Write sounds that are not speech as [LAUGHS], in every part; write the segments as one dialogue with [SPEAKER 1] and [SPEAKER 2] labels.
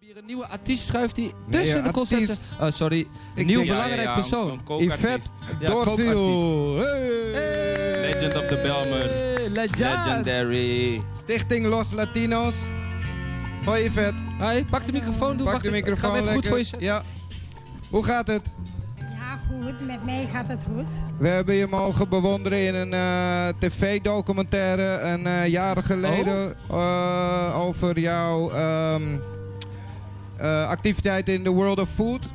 [SPEAKER 1] Hier een nieuwe artiest schuift die tussen
[SPEAKER 2] Nee,
[SPEAKER 1] de concerten.
[SPEAKER 2] artiest.
[SPEAKER 1] Oh, sorry. Een
[SPEAKER 2] Ik
[SPEAKER 1] nieuw
[SPEAKER 2] denk- Ja,
[SPEAKER 1] belangrijk persoon.
[SPEAKER 2] Yvette
[SPEAKER 1] Ja,
[SPEAKER 2] Dorsio.
[SPEAKER 1] koopartiest.
[SPEAKER 2] Hey.
[SPEAKER 3] Legend of the Belmer.
[SPEAKER 1] Hey, legend.
[SPEAKER 3] Legendary.
[SPEAKER 2] Stichting Los Latinos. Hoi Yvette.
[SPEAKER 1] Hoi, pak de microfoon, doe
[SPEAKER 2] Pak
[SPEAKER 1] wacht,
[SPEAKER 2] de
[SPEAKER 1] ik- ik
[SPEAKER 2] microfoon
[SPEAKER 1] ga hem even goed
[SPEAKER 2] lekker.
[SPEAKER 1] voor je zetten.
[SPEAKER 2] Ja. Hoe gaat het?
[SPEAKER 4] Ja, goed. Met mij gaat het goed.
[SPEAKER 2] We hebben je mogen bewonderen in een eh, tv-documentaire een eh, jaren geleden
[SPEAKER 1] Oh.
[SPEAKER 2] eh, over jouw ehm, eh, activiteiten in the world of food.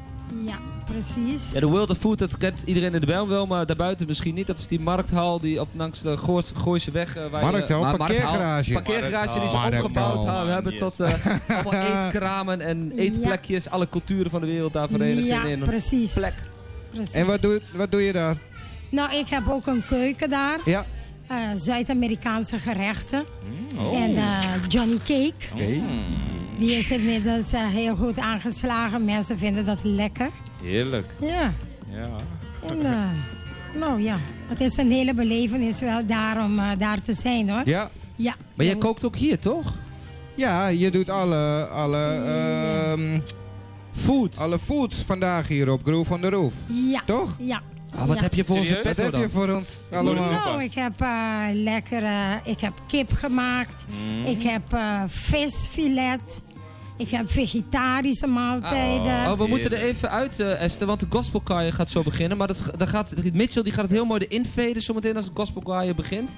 [SPEAKER 4] Ja, precies.
[SPEAKER 1] Ja, de World of Food, dat kent iedereen in de Bijl wel, maar daarbuiten misschien niet. Dat is die markthal die op langs de Goors- Gooise weg... eh, waar
[SPEAKER 2] Markthal,
[SPEAKER 1] je, maar-
[SPEAKER 2] parkeergarage.
[SPEAKER 1] Parkeergarage, die is
[SPEAKER 2] Markthal.
[SPEAKER 1] opgebouwd.
[SPEAKER 2] Markthal.
[SPEAKER 1] Ah, we hebben tot eh,
[SPEAKER 2] [LAUGHS]
[SPEAKER 1] allemaal eetkramen en eetplekjes. Alle culturen van de wereld daar verenigd
[SPEAKER 4] ja,
[SPEAKER 1] in één
[SPEAKER 4] precies.
[SPEAKER 1] plek.
[SPEAKER 4] precies.
[SPEAKER 2] En wat doe, wat doe je daar?
[SPEAKER 4] Nou, ik heb ook een keuken daar.
[SPEAKER 2] Ja.
[SPEAKER 4] Eh, Zuid-Amerikaanse gerechten.
[SPEAKER 3] Hmm.
[SPEAKER 1] Oh.
[SPEAKER 4] En eh, Johnny Cake.
[SPEAKER 2] Oké.
[SPEAKER 4] Die is inmiddels eh, heel goed aangeslagen. Mensen vinden dat lekker.
[SPEAKER 3] Heerlijk.
[SPEAKER 4] Ja.
[SPEAKER 3] Ja.
[SPEAKER 4] En, eh, nou ja, het is een hele belevenis wel daar om eh, daar te zijn hoor.
[SPEAKER 2] Ja.
[SPEAKER 4] Ja.
[SPEAKER 1] Maar jij kookt ook hier, toch?
[SPEAKER 2] Ja, je doet alle, alle,
[SPEAKER 1] Mm.
[SPEAKER 2] ehm,
[SPEAKER 1] Food.
[SPEAKER 2] alle foods vandaag hier op Groove on the Roof.
[SPEAKER 4] Ja.
[SPEAKER 2] Toch?
[SPEAKER 4] Ja.
[SPEAKER 1] Ah, wat
[SPEAKER 4] Ja.
[SPEAKER 1] heb je voor onze
[SPEAKER 3] Serieus?
[SPEAKER 2] Wat
[SPEAKER 1] petto
[SPEAKER 2] heb je
[SPEAKER 1] dan?
[SPEAKER 2] voor ons allemaal?
[SPEAKER 3] Pas.
[SPEAKER 4] Nou, ik heb eh, lekkere, ik heb kip gemaakt.
[SPEAKER 3] Hmm.
[SPEAKER 1] Mhm.
[SPEAKER 4] Ik heb eh, visfilet. Ik heb vegetarische maaltijden.
[SPEAKER 1] Oh, we moeten er
[SPEAKER 3] Heerlijk.
[SPEAKER 1] even uit, eh, Esther, want de gospelkaaien gaat zo beginnen. Maar dat, ga- daar gaat, Mitchell die gaat het heel mooi erin veden zometeen als de gospelkaaien begint.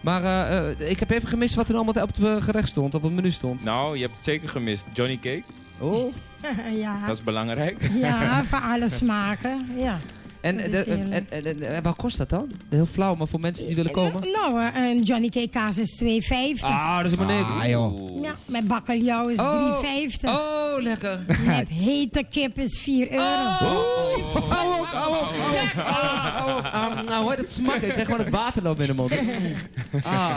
[SPEAKER 1] Maar eh, eh, ik heb even gemist wat er allemaal op het eh, gerecht stond, op het menu stond.
[SPEAKER 3] Nou, je hebt het zeker gemist. Johnny Cake,
[SPEAKER 1] Oh.
[SPEAKER 4] [LAUGHS] ja,
[SPEAKER 3] dat is belangrijk.
[SPEAKER 4] ja, van alle smaken. Ja.
[SPEAKER 1] En,
[SPEAKER 4] Dat
[SPEAKER 1] eh,
[SPEAKER 4] is
[SPEAKER 1] de- en,
[SPEAKER 4] heerlijk.
[SPEAKER 1] en- en- en waar kost dat dan? Heel flauw, maar voor mensen die willen komen.
[SPEAKER 4] Nou, eh, een Johnny Cake kaas is 2,50.
[SPEAKER 1] Ah, dat is maar niks.
[SPEAKER 2] Ah joh.
[SPEAKER 3] Oeh.
[SPEAKER 4] Ja, met bakkeljauw is
[SPEAKER 1] Oh.
[SPEAKER 4] 3,50.
[SPEAKER 1] Oh, lekker.
[SPEAKER 4] Met hete kip is
[SPEAKER 1] Oh.
[SPEAKER 4] 4 euro. Oh.
[SPEAKER 2] Hou op, hou op, hou op.
[SPEAKER 1] Ah, nou, hoor, dat smaakt. Ik krijg gewoon het waterloop in de
[SPEAKER 4] [LAUGHS]
[SPEAKER 1] mond. Ah,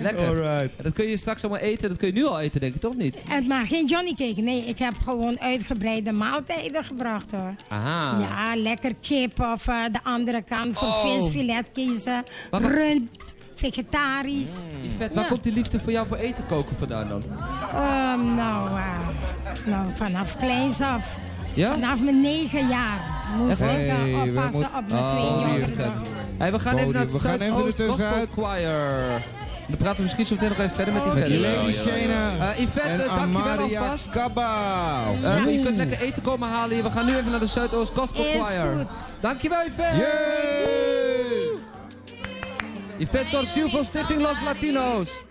[SPEAKER 1] lekker.
[SPEAKER 2] Alright.
[SPEAKER 1] Dat kun je straks allemaal eten. Dat kun je nu al eten, denk ik, toch niet?
[SPEAKER 4] En, maar geen Johnny Cake. Nee, ik heb gewoon uitgebreide maaltijden gebracht hoor.
[SPEAKER 1] Aha.
[SPEAKER 4] Ja, lekker kip of eh, de andere kant voor
[SPEAKER 1] Ah. Oh.
[SPEAKER 4] visfilet kiezen.
[SPEAKER 1] Maar-
[SPEAKER 4] Rund, vegetarisch.
[SPEAKER 1] Vet, waar
[SPEAKER 4] Ja.
[SPEAKER 1] komt die liefde voor jou voor eten koken vandaan dan?
[SPEAKER 4] Ehm, nou, eh, nou, vanaf kleins af.
[SPEAKER 1] Ja?
[SPEAKER 4] Vanaf mijn negen jaar moest
[SPEAKER 2] Echt?
[SPEAKER 4] ik eh,
[SPEAKER 2] Hey, we
[SPEAKER 4] oppassen
[SPEAKER 2] moeten-
[SPEAKER 4] op mijn twee
[SPEAKER 1] Oh,
[SPEAKER 4] jongeren.
[SPEAKER 1] die Hey, we gaan even naar het
[SPEAKER 2] We gaan even
[SPEAKER 1] Zuidoost Gospel
[SPEAKER 2] ertussenuit.
[SPEAKER 1] Choir. Dan praten we misschien zo meteen nog even verder met
[SPEAKER 2] Met
[SPEAKER 1] Yvette.
[SPEAKER 2] Lady Shana.
[SPEAKER 1] Eh, Yvette,
[SPEAKER 2] En
[SPEAKER 1] eh, dankjewel
[SPEAKER 2] Amaria
[SPEAKER 1] alvast.
[SPEAKER 2] Cabau.
[SPEAKER 1] Eh, je kunt lekker eten komen halen hier. We gaan nu even naar de Zuidoost Gospel
[SPEAKER 4] Is
[SPEAKER 1] Choir.
[SPEAKER 4] goed.
[SPEAKER 1] Dankjewel Yvette.
[SPEAKER 2] Yay!
[SPEAKER 1] Yvette Torsiel van Stichting Los Latino's.